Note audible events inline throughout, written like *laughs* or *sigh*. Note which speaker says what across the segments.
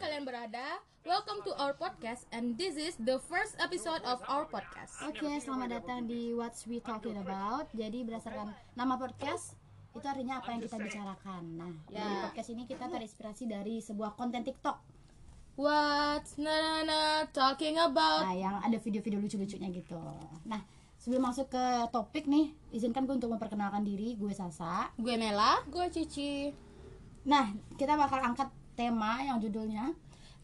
Speaker 1: berada, welcome to our podcast and this is the first episode of our podcast.
Speaker 2: Oke, selamat datang di What's We Talking About. Jadi berdasarkan nama podcast itu artinya apa yang kita bicarakan. Nah,
Speaker 1: Ya.
Speaker 2: dari podcast ini kita terinspirasi dari sebuah konten TikTok
Speaker 1: What's Nana talking about?
Speaker 2: nah, yang ada video-video lucu-lucunya gitu. Nah, sebelum masuk ke topik nih, izinkan gue untuk memperkenalkan diri. Gue Sasa.
Speaker 1: Gue Mela, gue Cici.
Speaker 2: Nah, kita bakal angkat tema yang judulnya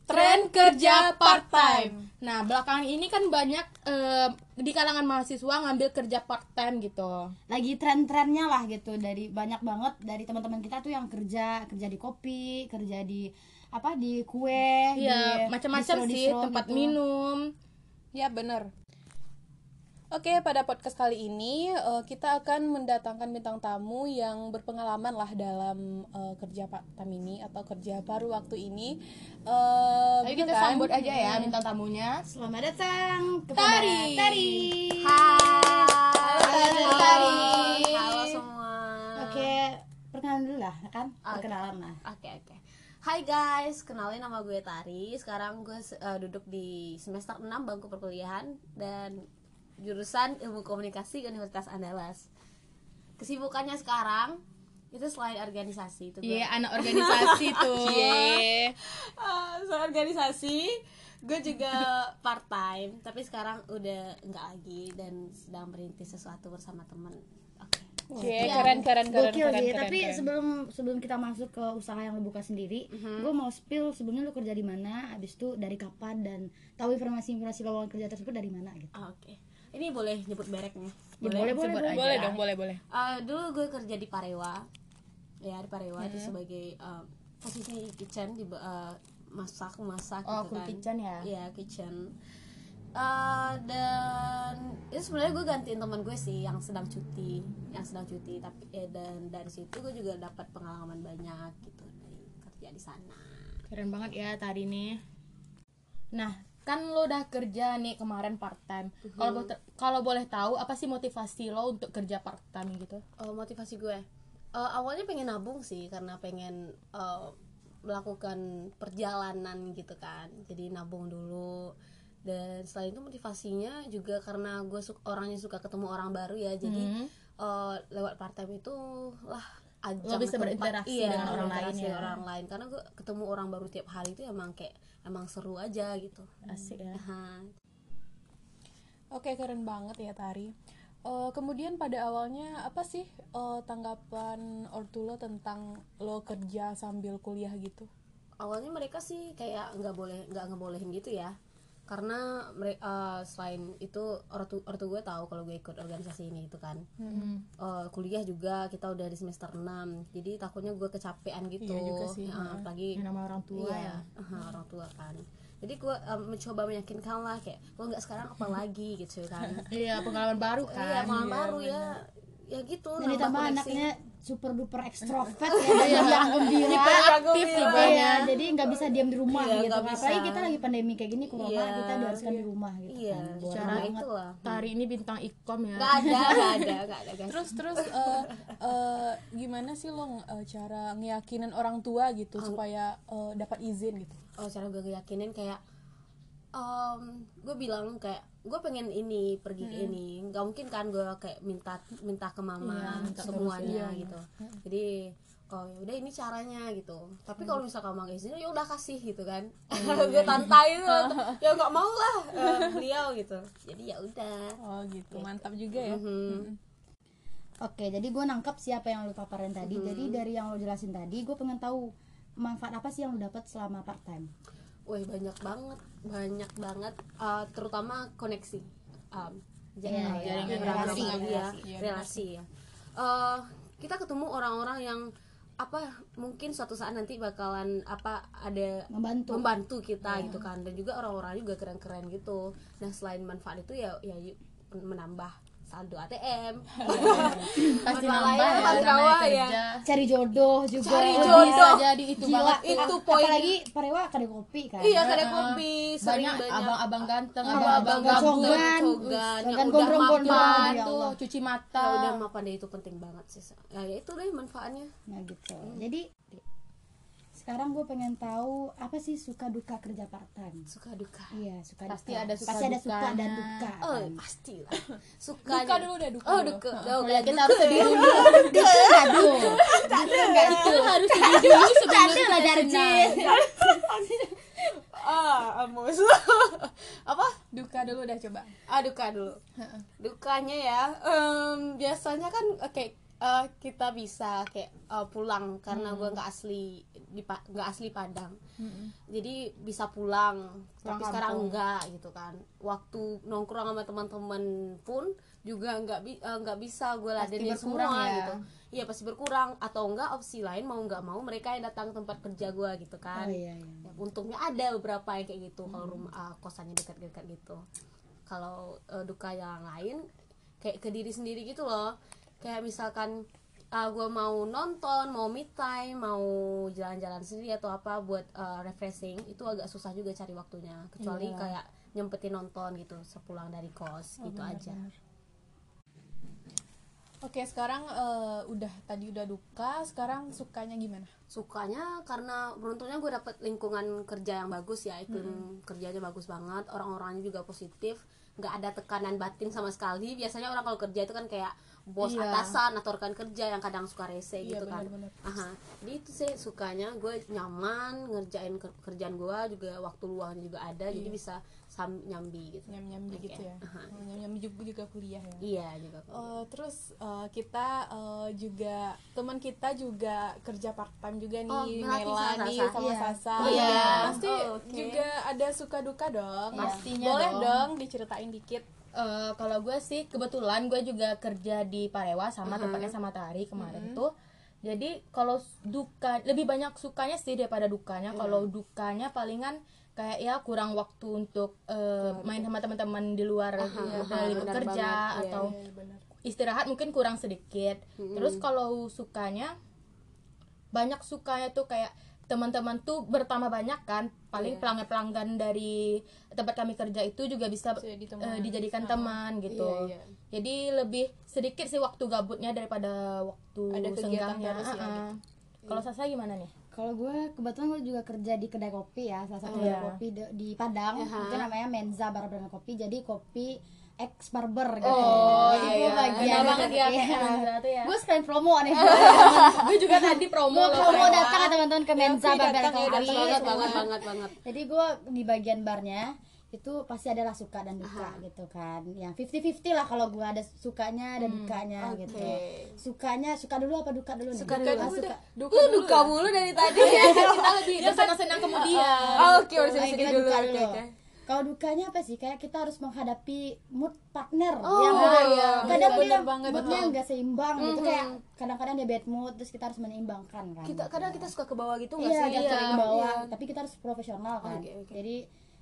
Speaker 1: Tren kerja part time. Nah, belakangan ini kan banyak eh, di kalangan mahasiswa ngambil kerja part time gitu.
Speaker 2: lagi tren-trennya lah gitu dari banyak banget dari teman-teman kita tuh yang kerja kerja di kopi kerja di apa di kue
Speaker 1: Iya,
Speaker 2: di
Speaker 1: macam-macam sih
Speaker 2: distro-distro
Speaker 1: tempat
Speaker 2: gitu.
Speaker 1: minum.
Speaker 3: Ya benar. Oke, pada podcast kali ini eh, kita akan mendatangkan bintang tamu yang berpengalaman lah dalam eh, kerja Pak Tam ini atau kerja baru waktu ini. Eh,
Speaker 1: Ayo
Speaker 3: bener
Speaker 1: kita
Speaker 3: kan?
Speaker 1: sambut aja ya bintang tamunya.
Speaker 2: selamat datang kepada
Speaker 1: Tari.
Speaker 2: Tari
Speaker 1: Hai,
Speaker 2: Tari.
Speaker 4: Halo semua.
Speaker 2: oke perkenalan dulu lah kan perkenalan lah
Speaker 4: Oke oke. Hai guys, kenalin nama gue Tari. Sekarang gue eh, duduk di semester 6 bangku perkuliahan dan jurusan Ilmu Komunikasi Universitas Andalas. Kesibukannya sekarang itu selain organisasi itu.
Speaker 1: Iya,
Speaker 4: gue.
Speaker 1: anak organisasi tuh.
Speaker 3: *laughs* Iya.
Speaker 4: Ah, selain organisasi, gue juga part time, tapi sekarang udah enggak lagi dan sedang merintis sesuatu bersama temen. Oke.
Speaker 3: Oke,
Speaker 1: Iya,
Speaker 3: keren keren keren
Speaker 2: Gokil
Speaker 3: keren.
Speaker 2: sih,
Speaker 3: keren,
Speaker 2: tapi
Speaker 3: keren.
Speaker 2: sebelum sebelum kita masuk ke usaha yang lu buka sendiri, gue mau spill sebelumnya lu kerja di mana, abis itu dari kapan dan tahu informasi-informasi lowongan kerja tersebut dari mana gitu.
Speaker 4: Ah, Oke. Ini boleh nyebut mereknya.
Speaker 2: Ya, boleh, boleh, boleh.
Speaker 3: boleh dong, boleh boleh.
Speaker 4: Eh, dulu gue kerja di Parewa ya di Parewa itu
Speaker 1: Hmm.
Speaker 4: sebagai eh, posisi kitchen di eh, masak masak
Speaker 1: Oh,
Speaker 4: gitu
Speaker 1: crew
Speaker 4: kan
Speaker 1: kitchen ya?
Speaker 4: Iya, kitchen Eh, dan itu sebenarnya gue gantiin teman gue sih yang sedang cuti yang sedang cuti tapi eh, dan dari situ gue juga dapat pengalaman banyak gitu dari kerja di sana
Speaker 1: Keren banget ya tadi nih. Nah, kan lo udah kerja nih kemarin part time. Kalau bo- kalau boleh tahu apa sih motivasi lo untuk kerja part time gitu?
Speaker 4: Eh, motivasi gue Eh, awalnya pengen nabung sih karena pengen eh, melakukan perjalanan gitu kan jadi nabung dulu dan selain itu motivasinya juga karena gue su- orangnya suka ketemu orang baru ya jadi
Speaker 1: Hmm.
Speaker 4: eh, lewat part time itu lah
Speaker 1: Lo
Speaker 4: ajang
Speaker 1: bisa
Speaker 4: tempat-
Speaker 1: berinteraksi
Speaker 4: iya,
Speaker 1: dengan orang lain
Speaker 4: berinteraksi
Speaker 1: ya.
Speaker 4: dengan orang lain karena gue ketemu orang baru tiap hari itu emang kayak emang seru aja gitu Nah,
Speaker 1: Asik ya.
Speaker 4: Aha.
Speaker 3: Oke, keren banget ya Tari. Eh, kemudian pada awalnya apa sih eh, tanggapan ortu lo tentang lo kerja sambil kuliah gitu?
Speaker 4: awalnya mereka sih kayak nggak boleh nggak ngebolehin gitu ya karena mere- eh, selain itu ortu ortu gue tahu kalau gue ikut organisasi ini gitu kan Eh, kuliah juga kita udah di semester 6 jadi takutnya gue kecapean gitu
Speaker 3: Iya juga sih,
Speaker 4: Ya,
Speaker 3: heeh.
Speaker 4: apalagi
Speaker 1: Yang nama orang tua
Speaker 4: Iya, aha, orang tua kan jadi gue eh, mencoba meyakinkan lah kayak lo nggak sekarang apa lagi gitu kan
Speaker 1: ya. Iya, pengalaman baru
Speaker 4: iya
Speaker 1: kan.
Speaker 4: malam baru ya ya gitu
Speaker 2: Dan ditambah
Speaker 4: koneksi.
Speaker 2: anaknya super duper ekstrovert ya,
Speaker 1: Iya. *laughs*
Speaker 2: dan yang gembira.
Speaker 1: Hiperaktif
Speaker 2: Iya,
Speaker 1: tibanya.
Speaker 2: jadi nggak bisa diam di rumah
Speaker 4: Iya,
Speaker 2: gitu.
Speaker 4: nggak bisa.
Speaker 2: Apalagi kita lagi pandemi kayak gini, corona
Speaker 4: Iya.
Speaker 2: kita diharuskan di rumah gitu.
Speaker 4: iya
Speaker 2: kan. Boring
Speaker 4: secara
Speaker 2: banget.
Speaker 4: itulah
Speaker 1: Tari ini bintang ikom ya.
Speaker 4: nggak ada nggak ada nggak
Speaker 3: *laughs*
Speaker 4: ada guys
Speaker 3: Terus terus eh, eh, gimana sih lo eh, cara ngeyakinin orang tua gitu supaya eh, dapat izin gitu?
Speaker 4: oh cara gue yakinin kayak gue bilang kayak gue pengen ini pergi ke ini nggak mungkin kan gue kayak minta minta ke mama semuanya gitu jadi oh udah ini caranya gitu tapi kalau misalkan mau izin ya udah kasih gitu kan *laughs* gue tantai itu ya nggak mau lah eh, beliau gitu jadi ya udah
Speaker 3: Oh gitu, mantap juga ya.
Speaker 4: Mhm.
Speaker 2: Oke, jadi gue nangkep siapa yang lu paparin tadi.
Speaker 4: Mm-hmm.
Speaker 2: Jadi dari yang lu jelasin tadi, gue pengen tahu manfaat apa sih yang lu dapat selama part time.
Speaker 4: Wih banyak banget, banyak banget, eh, terutama koneksi, Em, jaringan,
Speaker 2: Iya,
Speaker 4: ya,
Speaker 2: jaringan,
Speaker 4: beragam
Speaker 2: relasi, iya,
Speaker 4: lagi ya, relasi ya. Eh, kita ketemu orang-orang yang apa mungkin suatu saat nanti bakalan apa ada
Speaker 2: Membantu. Iya.
Speaker 4: membantu kita gitu kan dan juga orang-orang juga keren-keren gitu. Nah selain manfaat itu ya ya y- menambah saldo ATM,
Speaker 1: Pasti
Speaker 4: Buat
Speaker 1: nambah
Speaker 4: layan,
Speaker 1: ya,
Speaker 4: buat
Speaker 1: namanya
Speaker 4: rawa ya.
Speaker 1: kerja.
Speaker 2: Cari jodoh juga.
Speaker 4: Cari
Speaker 2: Lebih
Speaker 4: jodoh.
Speaker 1: Bisa jadi itu
Speaker 2: Gila.
Speaker 1: banget. tuh.
Speaker 4: itu poin.
Speaker 2: Apalagi Parewa kedai kopi kan.
Speaker 4: *laughs* Iya kedai kopi sering
Speaker 1: banyak abang-abang ganteng,
Speaker 2: Iya,
Speaker 1: abang-abang
Speaker 4: abang-abang
Speaker 1: gabut,
Speaker 2: gabut,
Speaker 4: cogan, cogan,
Speaker 2: cogan
Speaker 4: yang udah
Speaker 2: gondrong-gondrong.
Speaker 4: mapan,
Speaker 1: Pan
Speaker 2: Ya
Speaker 1: tuh
Speaker 2: Allah.
Speaker 1: cuci mata.
Speaker 4: Ya udah mapan deh itu penting banget sih. Sa. Ya ya itu deh manfaatnya.
Speaker 2: Nah gitu. Jadi Nah, sekarang gue pengen tahu apa sih suka duka kerja part time
Speaker 4: suka duka
Speaker 2: iya suka
Speaker 1: Pasti
Speaker 2: duka.
Speaker 1: ada suka
Speaker 2: pasti ada suka dan
Speaker 1: dukanya.
Speaker 2: duka
Speaker 4: oh
Speaker 2: kan.
Speaker 4: pasti lah *coughs* suka
Speaker 3: Duka dulu deh, duka
Speaker 4: oh
Speaker 3: dulu.
Speaker 4: duka
Speaker 1: Oh,
Speaker 4: oh,
Speaker 1: ya, kita
Speaker 4: duka.
Speaker 1: harus sedih dulu. Duka dulu. Duka nggak Gitu. itu harus sedih dulu sebelum kita sedih.
Speaker 4: ah amus apa
Speaker 3: Duka dulu dah coba.
Speaker 4: ah duka dulu dukanya ya em, biasanya kan eh, kayak eh, kita bisa kayak eh, pulang karena gua gue nggak asli di Pa- nggak asli Padang jadi bisa pulang tapi sekarang enggak gitu kan waktu nongkrong sama teman-teman pun juga nggak bi- eh, nggak bisa gue ladenin
Speaker 1: berkurang
Speaker 4: semua
Speaker 1: ya.
Speaker 4: gitu iya pasti berkurang atau enggak opsi lain mau nggak mau mereka yang datang ke tempat kerja gue gitu kan
Speaker 2: oh iya iya Hmm.
Speaker 4: Ya, untungnya ada beberapa yang kayak gitu kalau rumah ah, kosannya dekat-dekat gitu kalau eh, duka yang lain kayak ke diri sendiri gitu loh kayak misalkan ah, gua mau nonton mau me time mau jalan-jalan sendiri atau apa buat eh, refreshing itu agak susah juga cari waktunya
Speaker 2: Iya.
Speaker 4: kecuali kayak nyempetin nonton gitu sepulang dari kos gitu
Speaker 2: Oh, iya,
Speaker 4: aja
Speaker 3: Oke, sekarang eh, udah tadi udah duka, sekarang sukanya gimana?
Speaker 4: sukanya karena beruntungnya gue dapet lingkungan kerja yang bagus ya iklim kerjanya bagus banget orang-orangnya juga positif nggak ada tekanan batin sama sekali biasanya orang kalau kerja itu kan kayak bos
Speaker 1: Iya.
Speaker 4: atasan atau rekan kerja yang kadang suka rese
Speaker 3: Iya,
Speaker 4: gitu kan
Speaker 3: benar-benar.
Speaker 4: Aha. jadi itu sih sukanya gue nyaman ngerjain ke- kerjaan gue juga waktu luangnya juga ada
Speaker 3: Iya.
Speaker 4: jadi bisa sam- nyambi gitu
Speaker 3: Nyam-nyam
Speaker 4: Oke.
Speaker 3: gitu ya.
Speaker 4: Aha.
Speaker 3: Nyam-nyam juga, juga kuliah ya.
Speaker 4: iya juga
Speaker 3: Eh, terus eh, kita eh, juga teman kita juga kerja part time juga nih
Speaker 4: Oh, berarti
Speaker 3: Mela
Speaker 4: sama
Speaker 3: nih
Speaker 4: Sasa.
Speaker 3: sama
Speaker 2: Iya.
Speaker 3: Sasa
Speaker 1: Oh, iya.
Speaker 3: Ya, pasti
Speaker 4: Oh, oke.
Speaker 3: juga ada suka duka dong
Speaker 1: Iya. Pastinya
Speaker 3: boleh
Speaker 1: dong.
Speaker 3: dong. diceritain dikit
Speaker 1: Eh, kalau gue sih kebetulan gue juga kerja di Parewa sama
Speaker 4: Mm-hmm.
Speaker 1: tempatnya sama Tari kemarin tuh. Jadi kalau s- duka lebih banyak sukanya sih daripada dukanya.
Speaker 4: Iya.
Speaker 1: Kalau dukanya palingan kayak ya kurang waktu untuk eh, main sama teman-teman di luar
Speaker 4: Iya,
Speaker 1: ya,
Speaker 4: Aha,
Speaker 1: dari
Speaker 4: benar
Speaker 1: bekerja
Speaker 4: banget. Iya, Mm-hmm.
Speaker 1: atau istirahat mungkin kurang sedikit. Terus kalau sukanya banyak sukanya tuh kayak teman-teman tuh bertambah banyak kan. Paling pelanggan-pelanggan dari tempat kami kerja itu juga bisa
Speaker 3: Jadi teman.
Speaker 1: eh, dijadikan teman gitu.
Speaker 3: Iya, iya.
Speaker 1: Jadi lebih sedikit sih waktu gabutnya daripada waktu
Speaker 3: Ada kegiatan
Speaker 1: senggangnya.
Speaker 3: baru sih ya,
Speaker 1: Ah, ah. Kalau Sasa gimana nih? *laughs*
Speaker 2: Kalau gue kebetulan gue juga kerja di kedai kopi ya, salah satu
Speaker 1: Iya.
Speaker 2: kedai kopi de- di Padang. Itu namanya Menza Barber Kopi. Jadi kopi ex barber gitu.
Speaker 1: Oh,
Speaker 2: Jadi
Speaker 1: iya.
Speaker 2: gue bagian
Speaker 1: Enak banget ya,
Speaker 2: Iya.
Speaker 1: kayak Menza tuh ya. Oh, iya,
Speaker 2: Gue sekalian promo nih.
Speaker 1: Gue juga tadi promo
Speaker 2: Gue
Speaker 1: loh.
Speaker 2: promo
Speaker 1: Kak.
Speaker 2: datang ya teman-teman ke Menza Barber
Speaker 1: iya,
Speaker 3: datang ya,
Speaker 2: Kopi.
Speaker 4: banget banget banget banget banget
Speaker 2: Jadi gue di bagian barnya itu pasti adalah suka dan duka gitu kan ya 50-50 lah kalau gue ada
Speaker 1: Hmm,
Speaker 2: sukanya dan dukanya gitu sukanya suka dulu apa duka dulu nih?
Speaker 4: Suka dulu.
Speaker 2: Ah,
Speaker 4: Duka.
Speaker 2: suka
Speaker 3: duka
Speaker 4: lu
Speaker 3: dulu
Speaker 4: duka
Speaker 3: ya?
Speaker 4: mulu dari tadi
Speaker 3: *laughs*
Speaker 4: ya
Speaker 1: Kita lebih bersenang-senang kemudian.
Speaker 4: Oh, oke urusin
Speaker 2: Ayo
Speaker 4: sini
Speaker 2: kita
Speaker 4: dulu
Speaker 2: duka
Speaker 4: oke
Speaker 2: dulu.
Speaker 4: oke.
Speaker 2: Kalau dukanya apa sih? Kayak kita harus menghadapi mood partner
Speaker 4: Oh,
Speaker 2: yang
Speaker 4: iya.
Speaker 2: kadang
Speaker 3: Bener
Speaker 2: dia
Speaker 3: banget,
Speaker 2: moodnya
Speaker 3: betul.
Speaker 2: nggak seimbang gitu
Speaker 4: Mhm.
Speaker 2: kayak kadang-kadang dia bad mood terus kita harus menyeimbangkan kan.
Speaker 4: kita kadang kita suka ke bawah gitu nggak
Speaker 2: iya,
Speaker 4: sih
Speaker 2: jatuh
Speaker 4: Iya,
Speaker 2: ke bawah,
Speaker 4: iya.
Speaker 2: tapi kita harus profesional kan.
Speaker 4: Oke, Ah. oke.
Speaker 2: Jadi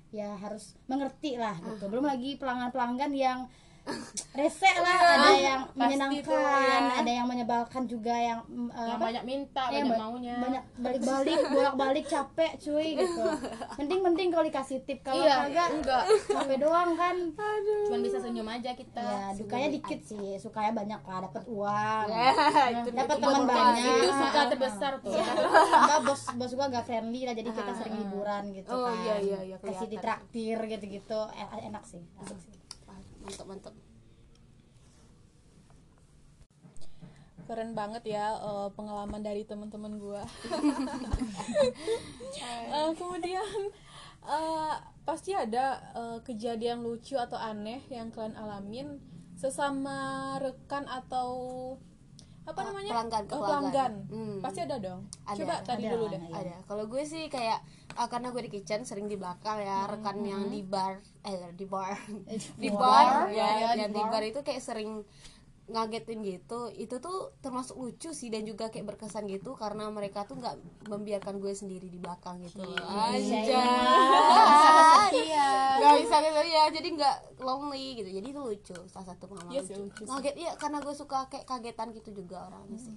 Speaker 2: ya harus mengerti lah gitu. Belum lagi pelanggan-pelanggan yang rese lah, ada
Speaker 4: Ah,
Speaker 2: yang
Speaker 3: tuh,
Speaker 2: menyenangkan,
Speaker 4: iya.
Speaker 3: ya.
Speaker 2: ada yang menyebalkan juga yang mm, eh,
Speaker 1: Yang
Speaker 2: apa?
Speaker 1: banyak minta,
Speaker 2: Eh,
Speaker 1: Iya, banyak
Speaker 2: ba-
Speaker 1: maunya.
Speaker 2: banyak balik-balik bolak-balik capek cuy gitu mending mending kalau dikasih tip kalau
Speaker 1: Iya,
Speaker 2: kagak
Speaker 1: enggak.
Speaker 2: capek doang kan
Speaker 1: Cuman bisa senyum aja kita.
Speaker 2: ya dukanya dikit sih sukanya banyak lah dapat uang
Speaker 4: Iya. *laughs* Ya. itu
Speaker 2: dapat
Speaker 4: itu
Speaker 2: teman
Speaker 4: buat
Speaker 2: banyak Iya.
Speaker 1: Itu suka terbesar tuh.
Speaker 2: Enggak, bos bos gua agak friendly lah jadi kita sering liburan gitu
Speaker 4: Ah, Oh,
Speaker 2: kan
Speaker 4: iya, iya, iya,
Speaker 2: kasih
Speaker 4: kelihatan.
Speaker 2: ditraktir gitu gitu enak sih asik sih
Speaker 4: mantap mantap
Speaker 3: keren banget ya eh, pengalaman dari teman-teman
Speaker 4: *laughs*
Speaker 3: gua Eh, kemudian eh, pasti ada eh, kejadian lucu atau aneh yang kalian alamin sesama rekan atau apa
Speaker 4: Eh,
Speaker 3: namanya
Speaker 4: pelanggan,
Speaker 3: Eh,
Speaker 4: pelanggan.
Speaker 3: pelanggan.
Speaker 4: Hmm.
Speaker 3: pasti ada dong
Speaker 4: Ada,
Speaker 3: coba
Speaker 4: ada,
Speaker 3: tadi
Speaker 2: ada,
Speaker 3: dulu deh
Speaker 2: ada.
Speaker 4: ada kalau gue sih kayak ah, karena gue di kitchen sering di belakang ya rekan yang di bar eh di bar *laughs* di bar ya dan di bar itu kayak sering ngagetin gitu itu tuh termasuk lucu sih dan juga kayak berkesan gitu karena mereka tuh nggak membiarkan gue sendiri di belakang gitu loh anjay nggak bisa gitu
Speaker 5: iya,
Speaker 4: ya jadi nggak lonely gitu jadi itu lucu salah satu pengalaman
Speaker 3: Iya sih, lucu sih.
Speaker 4: ngaget iya karena gue suka kayak kagetan gitu juga orangnya sih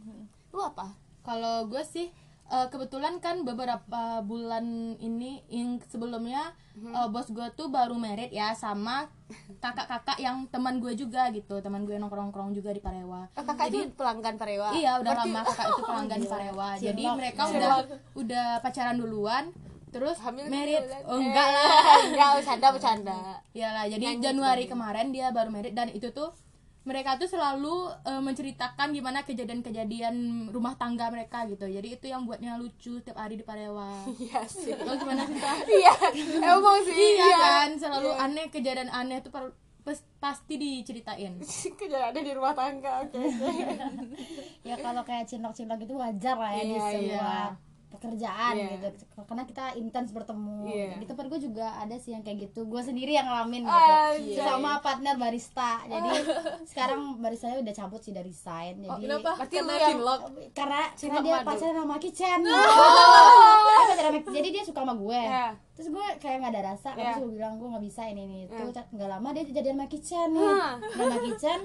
Speaker 4: lu apa
Speaker 1: Kalau gue sih eh, kebetulan kan beberapa bulan ini yang sebelumnya
Speaker 5: Mhm.
Speaker 1: eh, bos gue tuh baru merit ya sama kakak-kakak yang teman gue juga gitu teman gue nongkrong-nongkrong juga di Parewa
Speaker 5: Oh, kakak itu pelanggan Parewa.
Speaker 1: Iya, udah lama kakak
Speaker 5: *laughs*
Speaker 1: itu pelanggan Parewa. Jadi mereka udah udah pacaran duluan, terus
Speaker 5: Hamil
Speaker 1: merit.
Speaker 5: duluan. Eh.
Speaker 1: Oh, enggak lah.
Speaker 5: Enggak, bercanda bercanda.
Speaker 1: Iyalah, Iya jadi Januari kemarin dia baru merit dan itu tuh mereka tuh selalu eh, menceritakan gimana kejadian-kejadian rumah tangga mereka gitu. Jadi itu yang buatnya lucu tiap hari di Parewa.
Speaker 5: Iya sih.
Speaker 1: Lo gimana sih,
Speaker 4: *laughs*
Speaker 1: Kak?
Speaker 5: Iya, emang sih.
Speaker 1: Iya
Speaker 5: *laughs*
Speaker 1: kan, selalu aneh kejadian aneh tuh par- pas- pasti diceritain.
Speaker 5: Kejadian di rumah tangga. Oke. oke.
Speaker 2: ya kalau kayak cinlok-cinlok itu wajar lah ya di
Speaker 5: Iya,
Speaker 2: semua
Speaker 1: iya.
Speaker 2: pekerjaan
Speaker 5: Iya.
Speaker 2: gitu karena kita intens bertemu
Speaker 5: Iya.
Speaker 2: di tempat gue juga ada sih yang kayak gitu gue sendiri yang ngalamin
Speaker 5: Anjay.
Speaker 2: gitu sama partner barista
Speaker 5: *laughs*
Speaker 2: jadi sekarang baristanya udah cabut sih dari sign
Speaker 5: Oh,
Speaker 2: jadi
Speaker 5: Berarti lu yang
Speaker 2: karena karena
Speaker 5: Cinlok madu.
Speaker 2: dia
Speaker 5: Oh.
Speaker 2: pacaran sama Kicen Dia pacaran sama- jadi dia suka sama gue
Speaker 5: Iya.
Speaker 2: terus gue kayak nggak ada rasa
Speaker 5: Iya.
Speaker 2: terus gue bilang gue nggak bisa ini ini itu
Speaker 5: Iya.
Speaker 2: nggak lama dia jadian sama Kicen nih
Speaker 5: Hah.
Speaker 2: Dia sama Kicen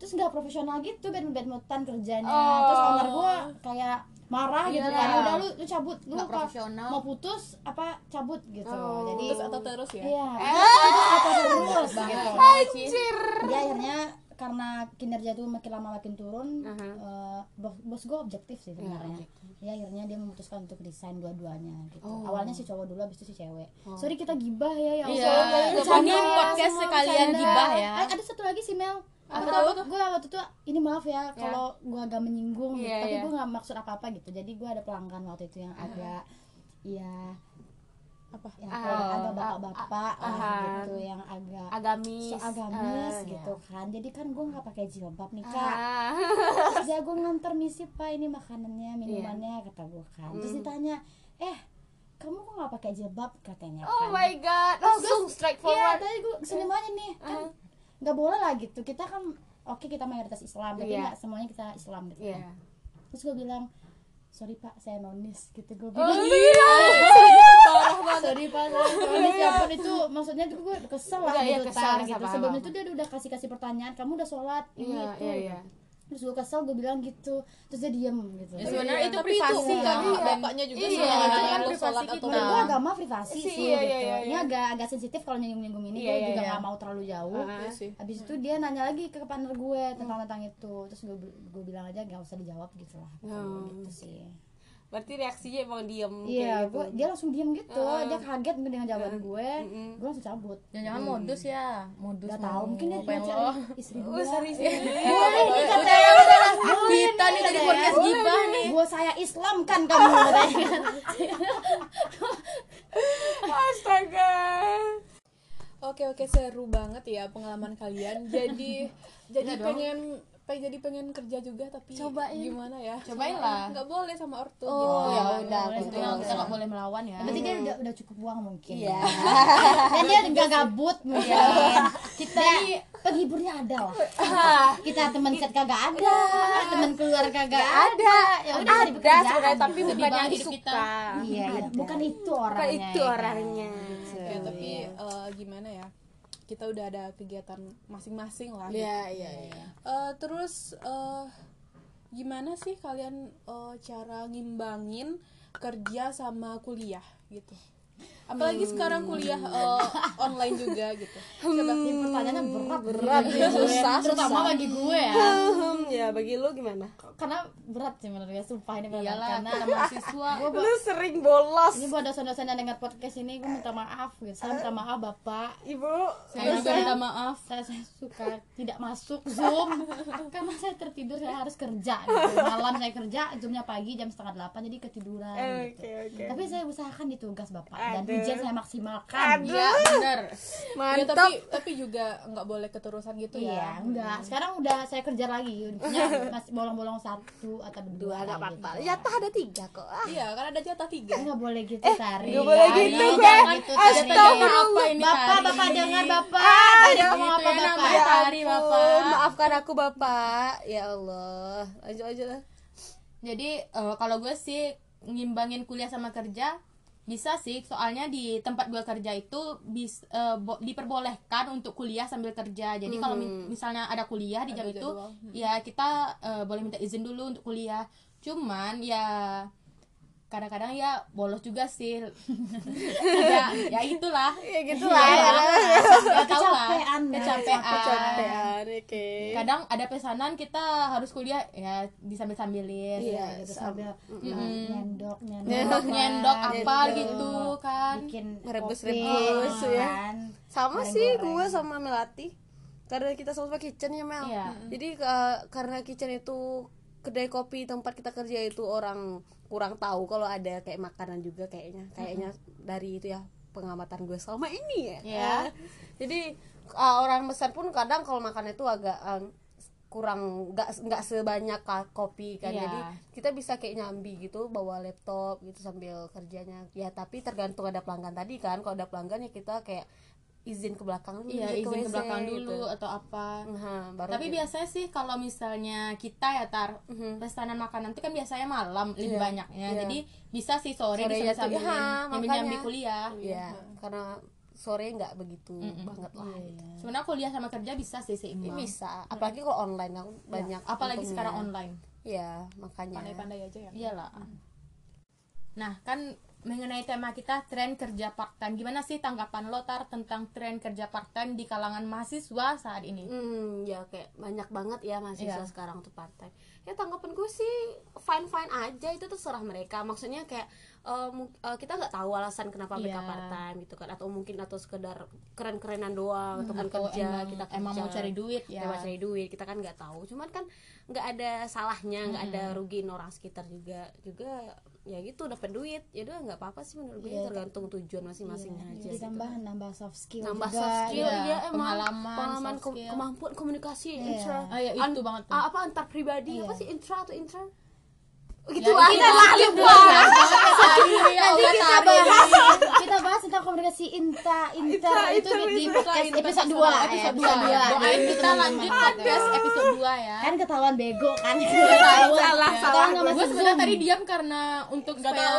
Speaker 2: terus nggak profesional gitu bad bad mutan kerjanya
Speaker 5: Oh.
Speaker 2: terus owner gue kayak marah gitu
Speaker 1: Iya.
Speaker 2: kan udah lu lu cabut lu
Speaker 1: Nggak
Speaker 2: kalau
Speaker 1: profesional.
Speaker 2: mau putus apa cabut gitu
Speaker 5: Oh.
Speaker 2: jadi
Speaker 3: Putus atau terus ya?
Speaker 2: iya putus atau terus gitu
Speaker 5: Anjir.
Speaker 2: dia akhirnya karena kinerja itu makin lama makin turun
Speaker 5: Aha.
Speaker 2: eh, bos bos gue objektif sih sebenarnya ya akhirnya dia memutuskan untuk resign dua-duanya gitu awalnya si cowok dulu habis itu si cewek sorry kita gibah ya ya
Speaker 1: Iya,
Speaker 2: Allah.
Speaker 1: ini podcast
Speaker 2: semua
Speaker 1: sekalian
Speaker 2: bercanda.
Speaker 1: gibah ya.
Speaker 2: Eh, ada satu lagi sih Mel
Speaker 1: Apa tuh?
Speaker 2: gue waktu itu ini maaf ya kalau gue agak menyinggung gitu,
Speaker 5: Iya,
Speaker 2: tapi
Speaker 5: iya.
Speaker 2: gue nggak maksud apa apa gitu jadi gue ada pelanggan waktu itu yang agak ya apa yang
Speaker 5: Ah,
Speaker 2: agak bapak-bapak lah
Speaker 5: ah,
Speaker 2: gitu yang agak
Speaker 5: Agamis.
Speaker 2: so agamis
Speaker 5: Eh,
Speaker 2: gitu kan jadi kan gue nggak pakai jilbab nih kak
Speaker 5: Ah.
Speaker 2: terus ya gue nganter misi pak ini
Speaker 5: Iya.
Speaker 2: makanannya minumannya kata gue kan terus
Speaker 5: Hmm.
Speaker 2: ditanya eh kamu kok nggak pakai jilbab katanya
Speaker 5: Oh
Speaker 2: kan
Speaker 5: my Eh. god. Langsung straight
Speaker 2: iya
Speaker 5: forward.
Speaker 2: tadi gue kesini aja nih kan
Speaker 5: Uh-huh.
Speaker 2: nggak boleh lah gitu kita kan oke kita mayoritas Islam tapi
Speaker 5: Iya.
Speaker 2: nggak semuanya kita Islam gitu
Speaker 5: Iya.
Speaker 2: kan. terus gue bilang sorry pak saya nonis gitu
Speaker 5: Oh,
Speaker 2: gue bilang
Speaker 5: iya.
Speaker 2: *laughs* sorry pak saya nonis ya ampun itu maksudnya tuh gue kesel lah
Speaker 5: Iya, iya,
Speaker 2: gitu
Speaker 5: kesel,
Speaker 2: Tar,
Speaker 5: kesel,
Speaker 2: gitu
Speaker 5: paham,
Speaker 2: sebelum
Speaker 5: paham.
Speaker 2: itu dia udah kasih kasih pertanyaan kamu udah sholat ini
Speaker 5: Iya,
Speaker 2: itu
Speaker 5: iya, iya.
Speaker 2: terus gue kesel gue bilang gitu terus dia diem gitu
Speaker 1: Ya, sebenarnya itu
Speaker 3: Iya, Tapi
Speaker 1: privasi
Speaker 3: itu
Speaker 1: kan
Speaker 3: hak
Speaker 1: hak dan-
Speaker 3: bapaknya juga
Speaker 5: Iya,
Speaker 3: soalnya
Speaker 5: itu
Speaker 3: yang
Speaker 1: kan
Speaker 3: lu
Speaker 1: privasi
Speaker 3: sholat atau
Speaker 1: kita.
Speaker 2: menurut gue agama privasi
Speaker 5: Sih,
Speaker 2: sih,
Speaker 5: iya,
Speaker 2: gitu.
Speaker 5: iya, iya,
Speaker 2: Ini
Speaker 5: iya.
Speaker 2: agak agak sensitif kalau nyinggung-nyinggung ini
Speaker 5: Iya, Ah,
Speaker 2: gue juga
Speaker 1: iya.
Speaker 2: nggak mau terlalu jauh.
Speaker 3: Iya sih.
Speaker 2: Habis itu dia nanya lagi ke partner gue
Speaker 5: Hmm.
Speaker 2: tentang tentang itu. Terus gue gue bilang aja nggak usah dijawab gitu lah. Kata gue
Speaker 5: Oh,
Speaker 2: gitu sih.
Speaker 5: Berarti reaksinya emang diem
Speaker 2: Iya,
Speaker 5: kayak
Speaker 2: gue
Speaker 5: gitu.
Speaker 2: dia langsung diem gitu. Dia kaget mungkin dengan jawaban gue. Gue langsung cabut.
Speaker 1: Jangan-jangan modus ya, modus.
Speaker 2: Gak
Speaker 1: mau
Speaker 2: tau, mungkin dia
Speaker 1: pengen
Speaker 2: cari
Speaker 1: lo.
Speaker 2: istri dulu
Speaker 5: Oh,
Speaker 2: lah.
Speaker 5: sorry *laughs* sih.
Speaker 1: Udah ya, udah lah. Kita nih jadi podcast gibah nih.
Speaker 2: Gue saya Islam kan
Speaker 5: *laughs*
Speaker 2: kamu katanya.
Speaker 5: Astaga.
Speaker 3: Oke oke seru banget ya pengalaman kalian.
Speaker 1: *laughs*
Speaker 3: Jadi jadi pengen pe- jadi pengen kerja juga tapi gimana ya?
Speaker 1: Iya Cobain lah.
Speaker 3: Nggak boleh sama ortu. gitu.
Speaker 1: Oh, ya udah,
Speaker 2: boleh,
Speaker 1: itu yang kita nggak boleh melawan ya.
Speaker 2: Berarti
Speaker 5: Iya.
Speaker 2: dia udah udah cukup uang mungkin. Iya. *laughs* Dan dia nggak gabut mungkin.
Speaker 5: Iya.
Speaker 2: Kita penghiburnya ada lah.
Speaker 5: Ah.
Speaker 2: Kita teman set kagak ada, teman keluar kagak ada. Ya udah
Speaker 5: Ada
Speaker 2: cari pekerjaan.
Speaker 5: sebenarnya tapi
Speaker 1: Sedih
Speaker 5: bukan yang
Speaker 1: banget hidup kita.
Speaker 5: disuka.
Speaker 2: Iya, iya. bukan itu
Speaker 5: Bukan
Speaker 2: orangnya.
Speaker 5: itu
Speaker 2: ya kan?
Speaker 5: orangnya.
Speaker 3: Ya,
Speaker 1: Iya.
Speaker 3: tapi eh, gimana ya? Kita udah ada kegiatan masing-masing lah. gitu.
Speaker 5: iya, iya.
Speaker 3: Eh, terus eh, gimana sih kalian eh, cara ngimbangin kerja sama kuliah gitu? Apalagi sekarang kuliah
Speaker 1: Hmm.
Speaker 3: eh, online juga gitu. Coba
Speaker 2: Ini pertanyaannya berat,
Speaker 5: Hmm. Berat
Speaker 2: sih.
Speaker 5: ya, susah,
Speaker 2: terutama
Speaker 5: susah.
Speaker 2: bagi gue ya.
Speaker 5: ya bagi lu gimana?
Speaker 2: Karena berat sih menurut gue, sumpah ini berat.
Speaker 1: Iyalah,
Speaker 2: Karena
Speaker 1: kita mahasiswa.
Speaker 5: Lu sering bolos.
Speaker 2: ini buat dosen-dosen yang dengar podcast ini, gue minta maaf gitu. Saya minta maaf bapak,
Speaker 5: Ibu,
Speaker 1: Saya juga minta maaf.
Speaker 2: saya, saya suka tidak masuk
Speaker 5: *laughs*
Speaker 2: zoom karena saya tertidur saya harus kerja gitu. malam saya kerja zoomnya pagi jam setengah delapan jadi ketiduran gitu.
Speaker 5: Oke, oke.
Speaker 2: tapi saya usahakan di tugas bapak dan
Speaker 5: Aduh.
Speaker 2: ujian saya maksimalkan
Speaker 5: Aduh.
Speaker 1: Iya, bener.
Speaker 3: Ya,
Speaker 5: Mantap.
Speaker 3: tapi tapi juga nggak boleh keterusan gitu ya.
Speaker 2: Iya, enggak. Sekarang udah saya kerja lagi. Uniknya masih bolong-bolong satu atau dua.
Speaker 5: Dua nggak
Speaker 2: kayak
Speaker 5: apa-apa.
Speaker 2: gitu.
Speaker 5: Ya tak ada tiga kok. Ah.
Speaker 3: Iya, kan ada jatah tiga.
Speaker 2: Nggak boleh gitu, Tari.
Speaker 5: Eh, nggak boleh
Speaker 2: Tari,
Speaker 5: gitu, gue.
Speaker 2: jangan gitu, Tari.
Speaker 1: Astagfirullah.
Speaker 2: Bapak,
Speaker 1: Tari.
Speaker 2: bapak
Speaker 5: Iya.
Speaker 2: jangan
Speaker 5: Ah,
Speaker 2: bapak. Tadi
Speaker 1: gitu
Speaker 2: ngomong apa
Speaker 1: ya
Speaker 2: bapak?
Speaker 1: namanya. Hari,
Speaker 5: ampun,
Speaker 1: Bapak.
Speaker 5: Maafkan aku Bapak. Ya Allah. Lanjut aja lah.
Speaker 1: Jadi eh, kalau gue sih ngimbangin kuliah sama kerja bisa sih soalnya di tempat gue kerja itu bis, eh, bo- diperbolehkan untuk kuliah sambil kerja jadi kalau mi- misalnya ada kuliah di jam itu ya kita eh, boleh minta izin dulu untuk kuliah cuman ya kadang-kadang ya bolos juga sih ya, ya itulah
Speaker 5: ya gitu
Speaker 1: ya,
Speaker 5: lah ya.
Speaker 1: ya tau lah
Speaker 2: Kecapean, ya.
Speaker 1: kecapean
Speaker 2: Iya,
Speaker 5: Kecapean, oke.
Speaker 1: kadang ada pesanan kita harus kuliah ya disambil sambilin
Speaker 5: Iya,
Speaker 2: gitu
Speaker 5: sama.
Speaker 2: sambil uh, nyendok
Speaker 1: nyendok
Speaker 2: nyendok
Speaker 1: nyendok apa
Speaker 2: Nyendok.
Speaker 1: gitu kan
Speaker 2: bikin
Speaker 5: Merebus-rebus,
Speaker 2: kopi,
Speaker 5: ya.
Speaker 2: kan.
Speaker 5: Sama sih
Speaker 2: Goreng-goreng.
Speaker 5: gue sama Melati. Karena kita sama-sama kitchen ya Mel.
Speaker 1: Iya.
Speaker 5: Jadi ka- karena kitchen itu kedai kopi tempat kita kerja itu orang kurang tahu kalau ada kayak makanan juga kayaknya. Kayaknya dari itu ya pengamatan gue selama ini ya.
Speaker 1: Iya.
Speaker 5: Eh, Jadi eh, orang besar pun kadang kalau makan itu agak eh, kurang nggak nggak sebanyak ka- kopi kan
Speaker 1: Iya.
Speaker 5: jadi kita bisa kayak nyambi gitu bawa laptop gitu sambil kerjanya ya tapi tergantung ada pelanggan tadi kan kalau ada pelanggan ya kita kayak izin ke belakang dulu
Speaker 1: iya
Speaker 5: izin WC
Speaker 1: izin ke belakang
Speaker 5: gitu.
Speaker 1: dulu atau apa
Speaker 5: Nah, baru
Speaker 1: tapi biasanya sih kalau misalnya kita ya tar pesanan makanan itu kan biasanya malam lebih
Speaker 5: Mhm. Iya,
Speaker 1: banyaknya
Speaker 5: iya.
Speaker 1: jadi bisa sih sore
Speaker 5: Sore ya
Speaker 1: bisa
Speaker 5: tuh,
Speaker 1: sambil
Speaker 5: iya,
Speaker 1: nyambi nyambi
Speaker 5: makanya.
Speaker 1: kuliah
Speaker 5: ya karena sore nggak begitu banget lah
Speaker 1: Iya,
Speaker 5: gitu.
Speaker 1: sebenarnya kuliah sama kerja bisa sih seimbang
Speaker 5: bisa apalagi kalau online kan banyak
Speaker 1: Iya. apalagi
Speaker 5: untungnya.
Speaker 1: sekarang online
Speaker 5: ya makanya
Speaker 3: pandai-pandai aja
Speaker 2: Iya,
Speaker 3: ya
Speaker 1: iyalah
Speaker 5: Mhm.
Speaker 1: nah kan mengenai tema kita tren kerja part time gimana sih tanggapan lo tar tentang tren kerja part time di kalangan mahasiswa saat ini
Speaker 4: Hmm, ya kayak banyak banget ya mahasiswa
Speaker 1: Iya.
Speaker 4: sekarang tuh partai. Ya tanggapan gue sih fine fine aja itu terserah mereka. Maksudnya kayak eh, mu- eh, kita nggak tahu alasan kenapa mereka
Speaker 1: Iya.
Speaker 4: part time gitu kan atau mungkin atau sekedar keren-kerenan doang atau
Speaker 1: Hmm,
Speaker 4: kan
Speaker 1: Atau
Speaker 4: kerja
Speaker 1: emang,
Speaker 4: kita kerja.
Speaker 1: emang mau cari duit ya
Speaker 4: Emang cari duit kita kan nggak tahu. Cuman kan nggak ada salahnya nggak
Speaker 1: Hmm.
Speaker 4: ada rugiin orang sekitar juga juga ya gitu dapat duit ya udah nggak apa-apa sih
Speaker 1: Iya,
Speaker 4: menurut gue tergantung tujuan masing-masingnya aja
Speaker 2: jadi
Speaker 4: gitu
Speaker 2: tambah nambah soft skill
Speaker 4: nambah
Speaker 2: juga.
Speaker 4: soft skill
Speaker 1: iya.
Speaker 4: ya, emang
Speaker 1: Pengalaman,
Speaker 4: pengalaman
Speaker 1: soft
Speaker 4: kom-
Speaker 1: skill.
Speaker 4: kemampuan komunikasi
Speaker 2: Iya.
Speaker 4: intra
Speaker 1: Ah, ya, itu banget tuh.
Speaker 4: ah, apa antar pribadi
Speaker 2: Iya.
Speaker 4: apa sih intra atau intra
Speaker 1: Ya,
Speaker 4: gitu lah
Speaker 1: itu lagi buat
Speaker 5: Nah, iya,
Speaker 1: nanti kita bahas
Speaker 2: kita bahas tentang komunikasi inta inter itu di, di podcast episode 2
Speaker 1: episode dua ya. doain kita lanjut podcast episode 2 ya
Speaker 2: kan ketahuan bego kan
Speaker 1: Iya, salah
Speaker 2: salah nggak
Speaker 1: gue
Speaker 2: masuk
Speaker 1: sebenarnya
Speaker 2: zoom
Speaker 1: tadi diam karena untuk supaya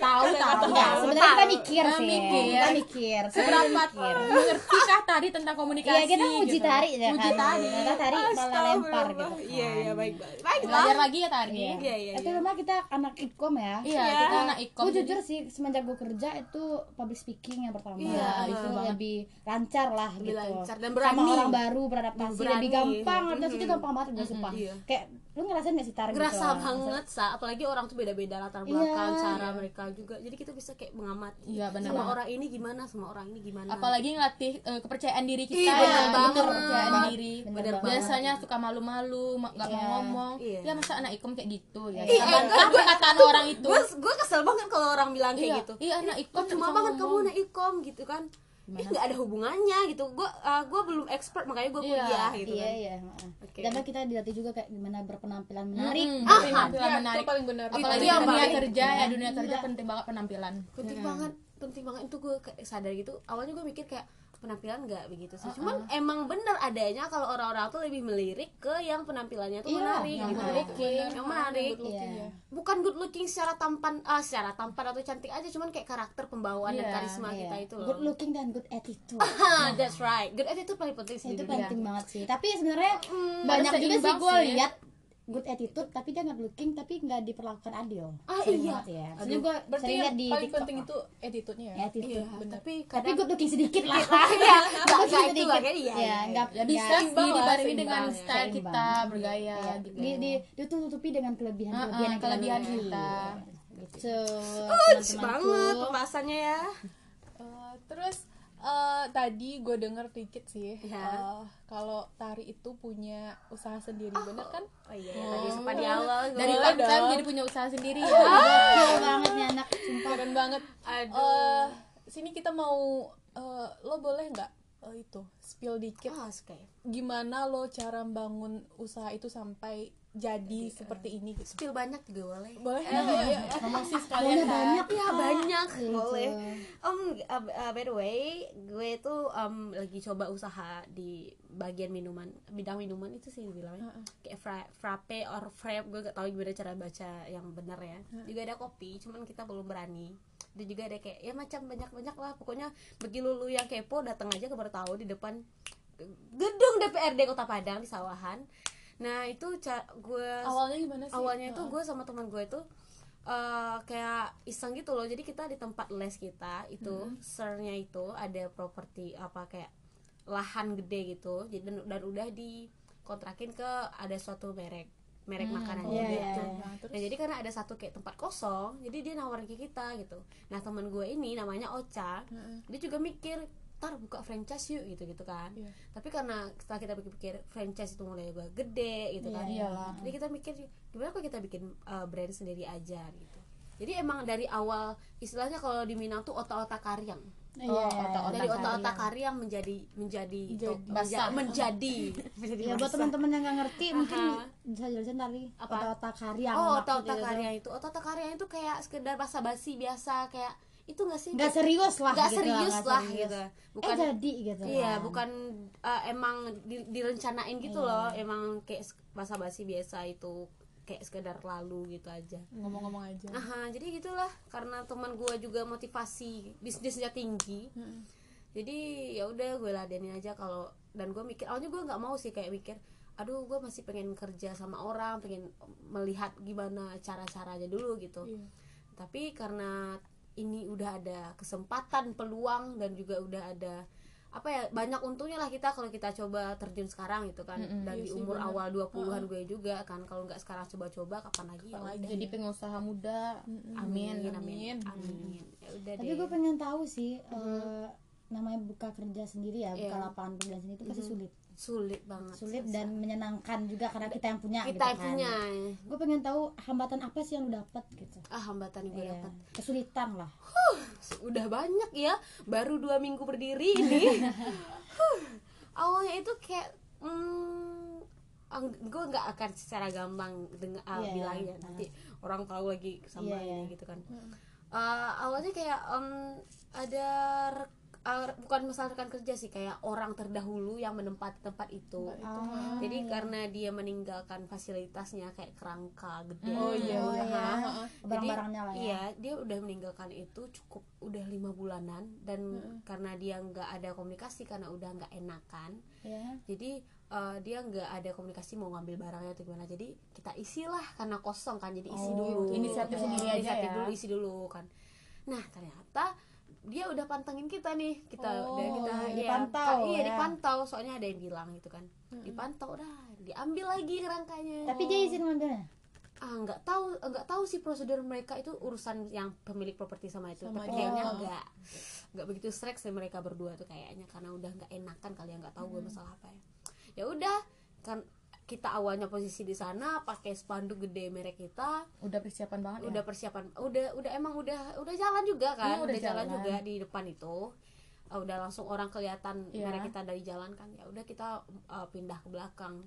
Speaker 1: tahu tahu
Speaker 2: Iya, sebenarnya kita mikir
Speaker 1: Kita
Speaker 2: sih
Speaker 1: mikir.
Speaker 2: kita mikir
Speaker 1: seberapa mengertikah tadi tentang komunikasi
Speaker 2: Iya kita uji
Speaker 1: gitu.
Speaker 2: tarik ya
Speaker 1: uji
Speaker 2: kan
Speaker 1: tari
Speaker 2: Kita tarik
Speaker 4: iya,
Speaker 2: malah lempar gitu kan
Speaker 5: iya iya baik baik baik
Speaker 1: belajar lagi ya tari
Speaker 2: Iya.
Speaker 5: Iya, iya,
Speaker 2: Tapi memang kita anak ipkom ya
Speaker 1: iya kita anak ikom
Speaker 2: Gue jujur sih semenjak gue kerja itu public speaking yang pertama
Speaker 1: Iya,
Speaker 2: itu
Speaker 1: betul banget.
Speaker 2: lebih lancar lah
Speaker 4: Lebih
Speaker 2: gitu.
Speaker 4: lancar dan berani.
Speaker 2: Sama orang baru beradaptasi
Speaker 4: Berani. iya.
Speaker 2: lebih gampang. Adaptasi itu gampang banget gue sumpah. Kayak lu ngerasain gak sih tarik gitu?
Speaker 4: ngerasa banget sa apalagi orang tuh beda-beda latar
Speaker 2: Iya.
Speaker 4: belakang cara mereka juga jadi kita bisa kayak mengamati
Speaker 1: Iya, benar
Speaker 4: sama
Speaker 1: banget.
Speaker 4: orang ini gimana sama orang ini gimana
Speaker 1: apalagi ngelatih eh, kepercayaan diri kita
Speaker 4: Iya,
Speaker 1: ya
Speaker 4: bener banget.
Speaker 1: kepercayaan diri
Speaker 2: Bener banget.
Speaker 1: biasanya suka malu-malu ma- nggak mau
Speaker 2: Iya.
Speaker 1: ngomong
Speaker 4: Iya.
Speaker 1: ya masa anak ikom kayak gitu ya kita bantah perkataan orang itu
Speaker 4: gue gue kesel banget kalau orang bilang kayak
Speaker 1: iya
Speaker 4: gitu
Speaker 1: iya anak ikom
Speaker 4: kok cuma banget kamu anak ikom gitu kan Ih, nggak ada hubungannya gitu gue gue belum expert makanya gue
Speaker 1: Iya.
Speaker 4: kuliah gitu
Speaker 2: Iya
Speaker 4: kan
Speaker 2: iya. heeh.
Speaker 4: Oke.
Speaker 2: Dan kita dilatih juga kayak gimana berpenampilan menarik.
Speaker 1: ah, penampilan
Speaker 3: Iya, itu
Speaker 1: menarik
Speaker 3: paling benar
Speaker 1: apalagi
Speaker 4: Itu
Speaker 1: dunia
Speaker 4: paling-
Speaker 1: kerja ya dunia kerja penting banget penampilan
Speaker 4: penting banget penting banget itu gue kayak sadar gitu awalnya gue mikir kayak penampilan nggak begitu sih cuman emang bener adanya kalau orang-orang tuh lebih melirik ke yang penampilannya tuh
Speaker 2: Iya,
Speaker 4: menarik
Speaker 1: yang
Speaker 4: gitu
Speaker 1: menarik.
Speaker 4: yang menarik
Speaker 2: Iya.
Speaker 4: bukan good looking secara tampan ah, secara tampan atau cantik aja cuman kayak karakter pembawaan
Speaker 1: Iya,
Speaker 4: dan karisma
Speaker 2: Iya.
Speaker 4: kita itu loh
Speaker 2: Good looking dan good
Speaker 4: *laughs*
Speaker 2: attitude.
Speaker 4: Ha, that's right good attitude paling penting sih
Speaker 2: Nah, itu
Speaker 4: di dunia.
Speaker 2: penting banget sih tapi sebenarnya
Speaker 4: Mm,
Speaker 2: banyak
Speaker 1: harus
Speaker 2: juga sih
Speaker 1: seimbang
Speaker 2: gue
Speaker 4: ya.
Speaker 1: sih.
Speaker 2: lihat good attitude tapi dia nggak good looking tapi nggak diperlakukan adil
Speaker 4: Ah,
Speaker 2: Sering
Speaker 4: iya.
Speaker 2: banget ya maksudnya gue
Speaker 3: berarti
Speaker 2: sering lihat
Speaker 3: yang
Speaker 2: di
Speaker 3: paling
Speaker 2: TikTok
Speaker 3: penting
Speaker 2: lah.
Speaker 3: itu attitude-nya ya
Speaker 2: ya, attitude
Speaker 4: Iya, tapi
Speaker 2: tapi
Speaker 4: kadang
Speaker 2: good looking sedikit lah *laughs*
Speaker 4: ya
Speaker 2: Good
Speaker 4: *laughs* nggak nggak
Speaker 2: looking
Speaker 4: itu lah kan iya
Speaker 2: ya nggak
Speaker 1: ya bisa sih
Speaker 3: seimbang lah,
Speaker 1: dibarengi
Speaker 3: seimbang
Speaker 1: dengan
Speaker 3: ya.
Speaker 1: style
Speaker 2: Seimbang.
Speaker 1: kita bergaya
Speaker 2: ya,
Speaker 1: gitu
Speaker 2: di, di, ditutupi dengan kelebihan
Speaker 1: Ah, ah,
Speaker 2: kelebihan yang
Speaker 1: kelebihan
Speaker 2: miliki.
Speaker 1: kita.
Speaker 2: gitu
Speaker 5: banget
Speaker 2: teman-temanku
Speaker 5: pembahasannya ya
Speaker 3: Eh, terus eh, tadi gue denger dikit sih
Speaker 4: Iya.
Speaker 3: eh, kalau tari itu punya usaha sendiri bener kan
Speaker 4: oh iya ya, tadi sempat di awal gua-
Speaker 1: dari
Speaker 3: Boleh
Speaker 1: part time
Speaker 3: dong.
Speaker 1: jadi punya usaha sendiri
Speaker 2: Iya.
Speaker 1: ya
Speaker 2: Gokil banget nih anak sumpah
Speaker 3: keren banget
Speaker 4: Aduh.
Speaker 3: Eh, sini kita mau eh, lo boleh nggak eh, itu spill dikit
Speaker 4: Ah, oke.
Speaker 3: gimana lo cara bangun usaha itu sampai jadi,
Speaker 2: eh.
Speaker 3: seperti ini gitu
Speaker 4: spill banyak juga boleh
Speaker 3: boleh nggak? Iya, iya.
Speaker 1: promosi sekalian Kak.
Speaker 2: banyak
Speaker 4: Iya banyak
Speaker 2: gitu.
Speaker 4: boleh. Om uh, uh, by the way, gue tuh um, lagi coba usaha di bagian minuman, bidang minuman itu sih bilangnya. Kayak fra- frappe or frappe, gue gak tahu gimana cara baca yang benar ya. Juga ada kopi, cuman kita belum berani. Dan juga ada kayak ya macam banyak-banyak lah. Pokoknya bagi lu lu yang kepo datang aja ke baru tahu di depan eh, gedung DPRD Kota Padang di Sawahan. Nah, itu ca- gue
Speaker 3: awalnya gimana sih
Speaker 4: awalnya itu gue sama teman gue itu eh, kayak iseng gitu loh jadi kita di tempat les kita itu sernya itu ada properti apa kayak lahan gede gitu jadi dan, dan udah dikontrakin ke ada suatu merek merek makanan
Speaker 2: iya,
Speaker 4: gitu.
Speaker 2: iya, iya.
Speaker 4: Nah, jadi karena ada satu kayak tempat kosong, jadi dia nawarin ke kita gitu. Nah, teman gue ini namanya Ocha, dia juga mikir ntar buka franchise yuk gitu gitu kan.
Speaker 2: Iya.
Speaker 4: Tapi karena setelah kita pikir-pikir franchise itu mulai agak gede
Speaker 2: Iya,
Speaker 4: gitu kan. Jadi kita mikir gimana kalau kita bikin uh, brand sendiri aja gitu. Jadi emang dari awal istilahnya kalau di Minang tuh otak-otak karyang.
Speaker 2: Iya.
Speaker 4: dari otak-otak karyang menjadi menjadi menja-
Speaker 2: *laughs*
Speaker 4: menjadi menjadi
Speaker 2: Ya buat
Speaker 4: basah.
Speaker 2: teman-teman yang nggak ngerti mungkin bisa jelasin dari
Speaker 4: Apa?
Speaker 2: otak-otak karya.
Speaker 4: Oh, otak-otak karya itu. Otak-otak karya itu kayak sekedar basa-basi biasa kayak itu nggak sih?
Speaker 2: Nggak serius lah.
Speaker 4: Nggak
Speaker 2: gitu,
Speaker 4: serius
Speaker 2: nggak
Speaker 4: lah
Speaker 2: serius.
Speaker 4: gitu.
Speaker 2: Eh
Speaker 4: Bukan
Speaker 2: jadi gitu.
Speaker 4: Iya,
Speaker 2: kan.
Speaker 4: bukan eh, emang di- direncanain gitu loh. Emang kayak sek- basa-basi biasa itu kayak sekedar lalu gitu aja.
Speaker 3: ngomong-ngomong aja
Speaker 4: Aha, jadi gitulah karena teman gua juga motivasi bisnisnya tinggi. Jadi ya udah gue ladenin aja kalau dan gue mikir awalnya gue nggak mau sih kayak mikir aduh gue masih pengen kerja sama orang pengen melihat gimana cara caranya dulu gitu tapi karena ini udah ada kesempatan peluang dan juga udah ada apa ya banyak untungnya lah kita kalau kita coba terjun sekarang gitu kan dan di umur awal 20-an gue juga kan kalau nggak sekarang coba-coba kapan lagi ya udah.
Speaker 1: jadi pengusaha muda amin
Speaker 3: Iya,
Speaker 4: amin amin, amin. ya udah
Speaker 2: Tapi
Speaker 4: deh
Speaker 2: gue pengen tahu sih eh, namanya buka kerja sendiri ya, buka
Speaker 4: Iya.
Speaker 2: lapangan pekerjaan sendiri itu pasti sulit.
Speaker 4: sulit banget
Speaker 2: Sulit dan menyenangkan juga karena kita yang punya gitu
Speaker 4: kita
Speaker 2: kan.
Speaker 4: punya
Speaker 2: Gue pengen tahu hambatan apa sih yang lu dapat gitu.
Speaker 4: ah hambatan yang gue
Speaker 2: Iya,
Speaker 4: dapat
Speaker 2: kesulitan lah.
Speaker 4: udah banyak ya baru dua minggu berdiri
Speaker 2: *laughs*
Speaker 4: ini Huh. awalnya itu kayak hmm, gue nggak akan secara gampang dengar ah,
Speaker 2: Iya.
Speaker 4: bilang ya nanti orang tahu lagi sama
Speaker 2: Iya,
Speaker 4: ini gitu kan Eh, awalnya kayak em, ada rek- ah, bukan masalah rekan kerja sih kayak orang terdahulu yang menempati tempat itu
Speaker 2: Ah.
Speaker 4: jadi
Speaker 2: Hmm.
Speaker 4: karena dia meninggalkan fasilitasnya kayak kerangka gede
Speaker 3: Oh, iya,
Speaker 2: Oh,
Speaker 3: iya.
Speaker 2: iya.
Speaker 3: Heeh.
Speaker 2: Barang-barangnya lah ya.
Speaker 4: Iya, dia udah meninggalkan itu cukup udah lima bulanan dan karena dia nggak ada komunikasi karena udah nggak enakan,
Speaker 2: Iya.
Speaker 4: jadi eh, dia nggak ada komunikasi mau ngambil barangnya atau gimana. Jadi kita isilah karena kosong kan, jadi isi dulu.
Speaker 2: Oh,
Speaker 1: inisiatif sendiri aja
Speaker 4: Inisiatif
Speaker 1: ya.
Speaker 4: dulu, isi dulu kan. Nah ternyata dia udah pantengin kita nih, kita udah kita
Speaker 2: iya,
Speaker 4: iya,
Speaker 2: dipantau
Speaker 4: Pak, iya
Speaker 2: ya.
Speaker 4: dipantau. Soalnya ada yang bilang gitu kan, dipantau dah, diambil lagi kerangkanya
Speaker 2: Tapi dia izin ngambilnya.
Speaker 4: ah nggak tahu nggak tahu sih prosedur mereka itu urusan yang pemilik properti sama itu
Speaker 3: Sama
Speaker 4: tapi
Speaker 3: dia.
Speaker 4: kayaknya nggak nggak begitu strek sih mereka berdua tuh kayaknya karena udah nggak enakan kali ya nggak tahu gue masalah apa ya ya udah kan kita awalnya posisi di sana pakai spanduk gede merek kita
Speaker 1: udah persiapan banget
Speaker 4: Iya.
Speaker 1: ya.
Speaker 4: udah persiapan udah udah emang udah udah jalan juga kan
Speaker 1: Iya,
Speaker 4: udah,
Speaker 1: udah
Speaker 4: jalan,
Speaker 1: jalan.
Speaker 4: juga di depan itu Ah, udah langsung orang kelihatan
Speaker 1: Iya.
Speaker 4: merek kita dari jalan kan ya udah kita ah, pindah ke belakang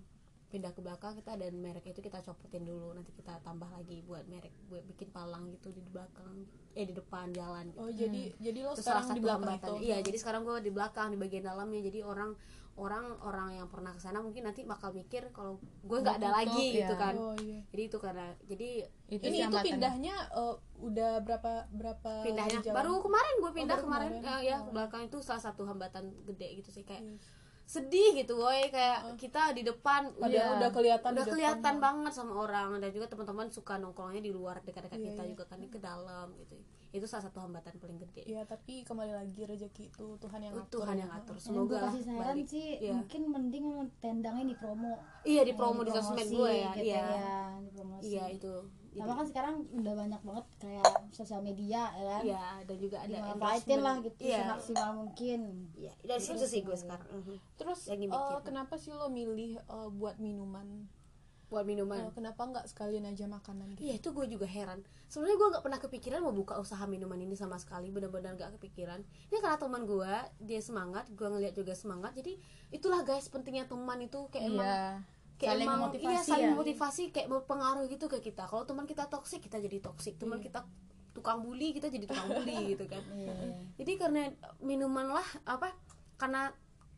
Speaker 4: pindah ke belakang kita dan merek itu kita copotin dulu nanti kita tambah lagi buat merek buat bikin palang gitu di belakang eh di depan jalan gitu.
Speaker 3: oh jadi jadi lo
Speaker 4: Itu
Speaker 3: sekarang di belakang
Speaker 4: hambatan.
Speaker 3: itu
Speaker 4: iya jadi sekarang gue di belakang di bagian dalamnya jadi orang orang orang yang pernah kesana mungkin nanti bakal mikir kalau gue nggak ada
Speaker 1: Tutup,
Speaker 4: lagi
Speaker 1: ya.
Speaker 4: gitu kan
Speaker 3: oh iya
Speaker 4: jadi itu karena jadi
Speaker 1: itu
Speaker 3: ini
Speaker 1: sih
Speaker 3: itu
Speaker 1: hambatan.
Speaker 3: pindahnya eh, udah berapa berapa
Speaker 4: pindahnya
Speaker 3: jalan?
Speaker 4: Iya, baru kemarin gue pindah
Speaker 3: baru
Speaker 4: kemarin,
Speaker 3: kemarin.
Speaker 4: Eh, ya belakang itu salah satu hambatan gede gitu sih kayak sedih gitu woi kayak kita di depan
Speaker 3: Padahal udah kelihatan di
Speaker 4: udah
Speaker 3: depan
Speaker 4: kelihatan banget sama orang dan juga teman-teman suka nongkrongnya di luar dekat-dekat kita juga kan ke dalam gitu itu salah satu hambatan paling gede
Speaker 3: Iya, tapi kembali lagi rezeki itu Tuhan yang
Speaker 4: Oh,
Speaker 3: ya, atur.
Speaker 4: Tuhan yang atur
Speaker 2: Yang gue
Speaker 4: semoga lah
Speaker 2: kasih saran
Speaker 4: balik.
Speaker 2: sih mm,
Speaker 4: Iya.
Speaker 2: mungkin mending tendangnya di promo.
Speaker 4: iya di promo di sosmed gue ya
Speaker 2: gitu
Speaker 4: iya
Speaker 2: ya, di promosi.
Speaker 4: iya itu Jadi,
Speaker 2: Sama kan sekarang udah banyak banget kayak sosial media ya kan.
Speaker 4: iya dan juga ada
Speaker 2: Dimanfaatin lah gitu
Speaker 4: Iya.
Speaker 2: semaksimal mungkin.
Speaker 4: iya dari situ sih gue sekarang Mhm.
Speaker 3: Terus
Speaker 4: Yang dibikin.
Speaker 3: eh, kenapa sih lo milih eh, buat minuman?
Speaker 4: buat minuman
Speaker 3: Eh, kenapa nggak sekalian aja makanan gitu?
Speaker 4: Iya itu gue juga heran. Sebenarnya gue nggak pernah kepikiran mau buka usaha minuman ini sama sekali. Bener-bener nggak kepikiran. Ini karena teman gue dia semangat, gue ngeliat juga semangat. Jadi itulah guys pentingnya teman itu kayak emang
Speaker 1: iya
Speaker 4: kayak
Speaker 1: saling
Speaker 4: emang
Speaker 1: memotivasi
Speaker 4: iya saling
Speaker 1: ya.
Speaker 4: motivasi kayak berpengaruh gitu ke kita. Kalau teman kita toksik kita jadi toksik. Teman kita tukang bully kita jadi tukang bully gitu kan. Jadi karena minuman lah apa karena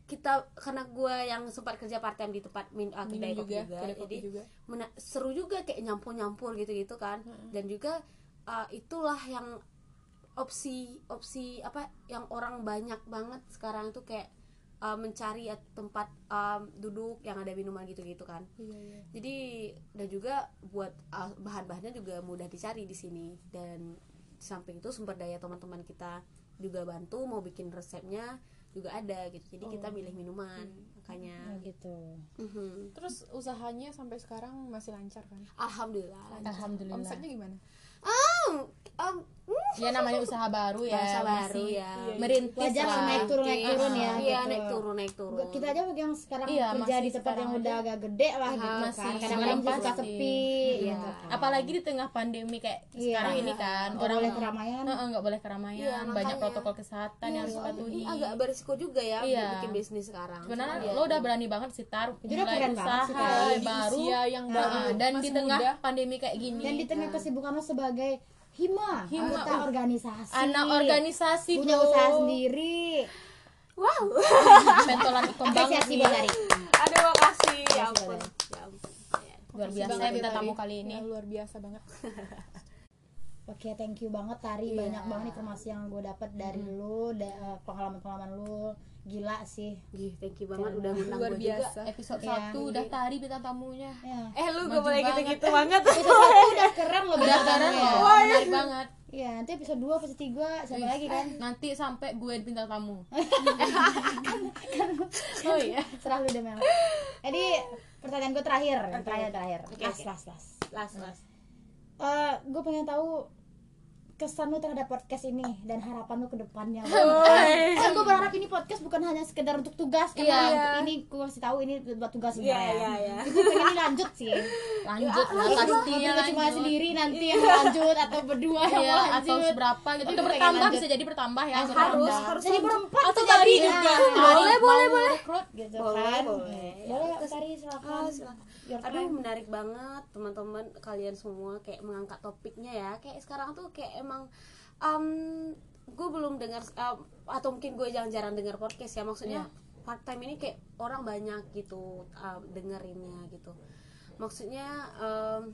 Speaker 4: kita karena gue yang sempat kerja part time di tempat min, ah, kedai
Speaker 3: Minum
Speaker 4: kopi
Speaker 3: juga,
Speaker 4: juga,
Speaker 3: kedai kopi
Speaker 4: jadi
Speaker 3: juga.
Speaker 4: mena- seru juga kayak nyampur-nyampur gitu-gitu kan dan juga uh, itulah yang opsi opsi apa yang orang banyak banget sekarang tuh kayak eh, mencari at- tempat em, duduk yang ada minuman gitu-gitu kan
Speaker 3: Iya,
Speaker 4: jadi dan juga buat ah, bahan-bahannya juga mudah dicari di sini dan di samping itu sumber daya teman-teman kita juga bantu mau bikin resepnya juga ada gitu jadi kita milih minuman makanya
Speaker 2: gitu
Speaker 4: Mhm.
Speaker 3: Terus usahanya sampai sekarang masih lancar kan?
Speaker 4: alhamdulillah
Speaker 1: Alhamdulillah.
Speaker 3: Omsetnya gimana?
Speaker 4: Em, em, mm,
Speaker 1: Ya namanya usaha baru ya.
Speaker 4: Oh, bahasa baru
Speaker 1: masih
Speaker 4: ya
Speaker 1: Merintis
Speaker 2: Wajar lah,
Speaker 1: lah.
Speaker 2: naik turun naik turun ya
Speaker 4: iya
Speaker 2: gitu.
Speaker 4: naik turun naik turun
Speaker 2: kita aja yang sekarang
Speaker 1: Iya,
Speaker 2: kerja
Speaker 1: masih
Speaker 2: di tempat yang
Speaker 1: sekarang
Speaker 2: udah agak gede lah gitu
Speaker 1: masih.
Speaker 2: kan kadang-kadang
Speaker 1: Sekarang
Speaker 2: suka
Speaker 1: pasti.
Speaker 2: sepi
Speaker 4: Iya.
Speaker 2: gitu kan.
Speaker 1: Apalagi di tengah pandemi kayak
Speaker 2: Iya.
Speaker 1: sekarang ini kan
Speaker 2: Nggak boleh keramaian.
Speaker 1: Heeh, nggak boleh keramaian.
Speaker 4: Iya,
Speaker 1: banyak
Speaker 4: makanya.
Speaker 1: protokol kesehatan yang harus dipatuhi.
Speaker 4: Ini agak berisiko juga ya
Speaker 1: Iya.
Speaker 4: bikin bisnis sekarang
Speaker 1: Sebenarnya
Speaker 4: Cuma ya,
Speaker 1: lo udah berani banget sih taruh
Speaker 2: Itu udah
Speaker 1: mulai
Speaker 2: keren banget
Speaker 1: usaha
Speaker 2: sih, Kak.
Speaker 3: Di
Speaker 1: baru
Speaker 3: usia yang
Speaker 1: Heeh,
Speaker 3: baru
Speaker 1: dan di
Speaker 3: masih
Speaker 1: tengah
Speaker 3: muda.
Speaker 1: pandemi kayak gini.
Speaker 2: dan di tengah kesibukan lo sebagai hima,
Speaker 1: Hima,
Speaker 2: anggota
Speaker 1: uh.
Speaker 2: organisasi
Speaker 1: anak organisasi
Speaker 2: punya
Speaker 1: bro.
Speaker 2: usaha sendiri
Speaker 4: wow
Speaker 1: *laughs* pentolan ikom banget
Speaker 2: apresiasi
Speaker 1: nih.
Speaker 2: buat Ari
Speaker 4: aduh makasih ya ampun ya ampun Ya ampun.
Speaker 1: luar biasa
Speaker 3: Banget
Speaker 1: ya minta
Speaker 3: ya,
Speaker 1: tamu
Speaker 3: Tari.
Speaker 1: kali ini
Speaker 3: Ya, luar biasa banget.
Speaker 2: Oke, thank you banget Tari.
Speaker 1: Iya.
Speaker 2: Banyak banget informasi yang gue dapat dari
Speaker 1: Hmm.
Speaker 2: lu, da- eh, pengalaman-pengalaman lu. Gila sih.
Speaker 4: Gih, thank you banget udah ngundang
Speaker 3: Luar
Speaker 4: gue juga
Speaker 3: biasa.
Speaker 1: episode
Speaker 2: Iya.
Speaker 1: satu udah tari bintang tamunya *laughs*
Speaker 2: Ya.
Speaker 4: eh lu gue
Speaker 1: Maju
Speaker 4: boleh
Speaker 1: banget.
Speaker 4: gitu-gitu banget
Speaker 2: Episode satu udah keren loh
Speaker 1: udah
Speaker 2: bintang
Speaker 1: keren
Speaker 2: tamunya.
Speaker 1: loh menarik banget
Speaker 2: Iya, nanti episode 2, episode 3 siapa
Speaker 1: Ih,
Speaker 2: lagi
Speaker 1: *laughs*
Speaker 2: kan?
Speaker 1: nanti sampai gue bintang tamu
Speaker 2: Oh iya. Serah lu deh Mel. Jadi pertanyaan gue terakhir, terakhir terakhir. Last, last, *laughs* last.
Speaker 4: last last
Speaker 2: Eh, gue pengen tahu kesan lu terhadap podcast ini dan harapan lu ke depannya.
Speaker 1: *laughs*
Speaker 2: Kan gue berharap ini podcast bukan hanya sekedar untuk tugas
Speaker 1: Iya.
Speaker 2: karena ini gue kasih tahu ini buat tugas
Speaker 4: Iya,
Speaker 2: sebenarnya.
Speaker 4: iya, iya.
Speaker 2: Gue pengen ini lanjut sih.
Speaker 1: *laughs* lanjut
Speaker 4: Nah,
Speaker 1: lah
Speaker 2: Terus gua-
Speaker 1: pastinya
Speaker 2: kalau cuma
Speaker 1: lanjut
Speaker 2: Iya, sendiri nanti
Speaker 4: Iya.
Speaker 2: yang lanjut atau berdua yang
Speaker 1: Iya, atau
Speaker 2: lanjut.
Speaker 1: seberapa gitu
Speaker 2: Itu
Speaker 1: udah
Speaker 2: pengen
Speaker 1: bertambah
Speaker 2: lanjut.
Speaker 1: bisa jadi bertambah ya bisa
Speaker 4: harus
Speaker 1: bertambah.
Speaker 4: harus Iya.
Speaker 2: jadi berempat
Speaker 1: atau
Speaker 2: bisa
Speaker 1: Tari
Speaker 2: jadi.
Speaker 1: juga
Speaker 2: Nah,
Speaker 1: boleh boleh boleh
Speaker 2: rekrut gitu
Speaker 4: Boleh,
Speaker 2: kan.
Speaker 4: boleh.
Speaker 2: Boleh, Tari silakan.
Speaker 4: Oh, ya. silakan.
Speaker 2: Your
Speaker 4: Aduh
Speaker 2: time.
Speaker 4: menarik banget teman-teman kalian semua kayak mengangkat topiknya ya kayak sekarang tuh kayak emang gue belum dengar em, atau mungkin gue jangan jarang dengar podcast ya maksudnya part time ini kayak orang banyak gitu em, dengerinnya gitu maksudnya em,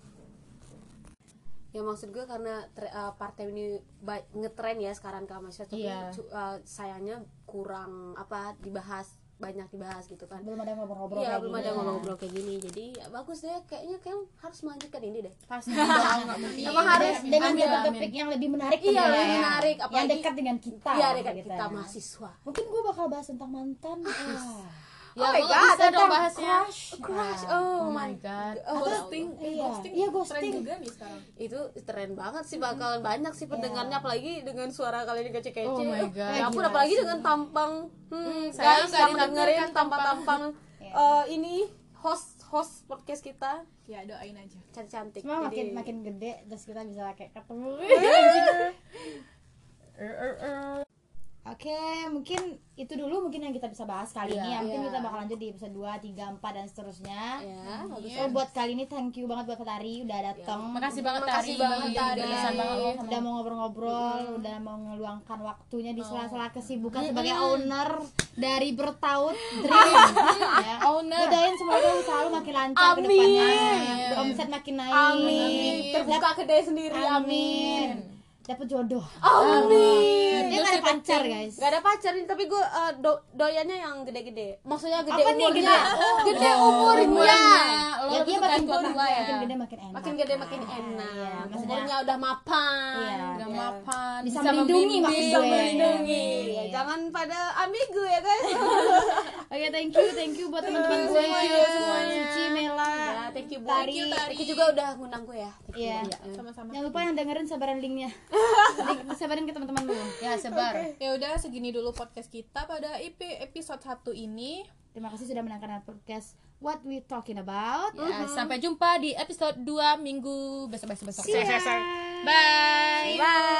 Speaker 4: ya maksud gue karena tre- eh, part time ini ba- ngetren ya sekarang kan maksudnya tapi
Speaker 1: Iya.
Speaker 4: cu- eh, sayangnya kurang apa dibahas banyak dibahas gitu kan
Speaker 2: belum ada ngobrol-ngobrol
Speaker 4: Iya
Speaker 2: kayak
Speaker 4: belum
Speaker 2: gini.
Speaker 4: ada ngobrol-ngobrol kayak gini jadi ya, bagus deh kayaknya kan harus melanjutkan ini deh
Speaker 3: *laughs*
Speaker 1: pasti dong, nggak mungkin
Speaker 2: iya,
Speaker 4: Emang harus
Speaker 2: Dengan- dengan
Speaker 1: Amin,
Speaker 2: dapat
Speaker 1: amin.
Speaker 2: topik yang lebih menarik
Speaker 4: Iya,
Speaker 2: tentunya
Speaker 4: lebih
Speaker 2: ya.
Speaker 4: menarik,
Speaker 2: yang
Speaker 4: apalagi-
Speaker 2: dekat dengan kita
Speaker 4: iya dekat
Speaker 2: gitu
Speaker 4: kita
Speaker 2: ya.
Speaker 4: mahasiswa
Speaker 2: mungkin gue bakal bahas tentang mantan Ah.
Speaker 1: ya
Speaker 4: Oh
Speaker 1: kalau
Speaker 4: my God,
Speaker 1: bisa dong
Speaker 4: tentang
Speaker 1: bahasnya
Speaker 4: crush oh,
Speaker 1: oh
Speaker 4: my
Speaker 1: my god
Speaker 3: ghosting, Eh,
Speaker 2: iya.
Speaker 3: ghosting,
Speaker 2: Iya,
Speaker 3: tren
Speaker 2: ghosting.
Speaker 3: juga nih sekarang.
Speaker 4: itu tren banget sih bakalan banyak sih pendengarnya apalagi dengan suara kalian yang kece-kece
Speaker 1: Oh
Speaker 4: *laughs*
Speaker 1: my God.
Speaker 4: ya ampun apalagi dengan tampang hmm,
Speaker 1: saya nggak
Speaker 4: saya nggak
Speaker 1: didengerin
Speaker 4: dengerin tampang-tampang eh, ini host host podcast kita
Speaker 3: Ya doain aja.
Speaker 4: cantik-cantik
Speaker 2: cuma makin
Speaker 4: Jadi-
Speaker 2: makin gede terus kita bisa kayak ketemu
Speaker 1: Er, er, er.
Speaker 2: Oke, mungkin itu dulu mungkin yang kita bisa bahas kali
Speaker 1: Iya.
Speaker 2: ini. Ya, mungkin
Speaker 4: Iya.
Speaker 2: kita bakal lanjut di episode 2, 3, 4 dan seterusnya.
Speaker 4: ya bagus
Speaker 2: So, buat kali ini thank you banget buat Kak Tari udah datang.
Speaker 1: makasih banget Tari
Speaker 4: Makasih banget, Tari.
Speaker 1: Berkesan banget lo
Speaker 2: udah mau ngobrol-ngobrol, udah mau ngeluangkan waktunya di sela-sela kesibukan sebagai owner dari Bertaut Dream. ya.
Speaker 1: Owner.
Speaker 2: Mudahin semoga usaha lu makin lancar ke
Speaker 4: Amin.
Speaker 2: depannya. Omset makin naik.
Speaker 4: amin terbuka kedai sendiri
Speaker 2: Amin. Dapat jodoh.
Speaker 4: amin.
Speaker 2: Dia gak ada pacar, guys.
Speaker 4: Gak ada pacar nih, tapi gue uh, do- doyannya yang gede-gede. Maksudnya gede
Speaker 2: Apa nih
Speaker 4: umurnya.
Speaker 2: gede?
Speaker 4: Gede umurnya.
Speaker 1: lo
Speaker 2: ya
Speaker 1: lebih
Speaker 2: dia makin
Speaker 1: suka yang tua ya
Speaker 2: gede, makin gede makin enak.
Speaker 4: Makin gede makin
Speaker 2: Iya,
Speaker 4: enak.
Speaker 2: maksudnya-
Speaker 4: umurnya udah mapan.
Speaker 2: Iya.
Speaker 1: Udah mapan
Speaker 2: Bisa melindungi
Speaker 1: membimbing.
Speaker 2: maksud gue.
Speaker 1: Bisa melindungi.
Speaker 4: Iya, Jangan pada ambigu ya guys.
Speaker 2: Oke, thank you, thank you buat teman-teman gue semuanya. Suci, Mela.
Speaker 4: ya, thank you Bu.
Speaker 2: Tari.
Speaker 4: Thank you juga udah ngundang gue ya. Thank you.
Speaker 2: Iya.
Speaker 1: Ya.
Speaker 3: Sama-sama.
Speaker 2: Jangan lupa yang dengerin sebaran linknya. Di- Disebarin ke teman-teman lu.
Speaker 1: ya sebar
Speaker 3: Ya udah segini dulu podcast kita pada EP episode 1 ini.
Speaker 2: Terima kasih sudah mendengarkan podcast What We Talking About.
Speaker 1: Ya, sampai jumpa di episode 2 minggu besok besok besok
Speaker 2: See ya.
Speaker 1: bye
Speaker 4: Bye.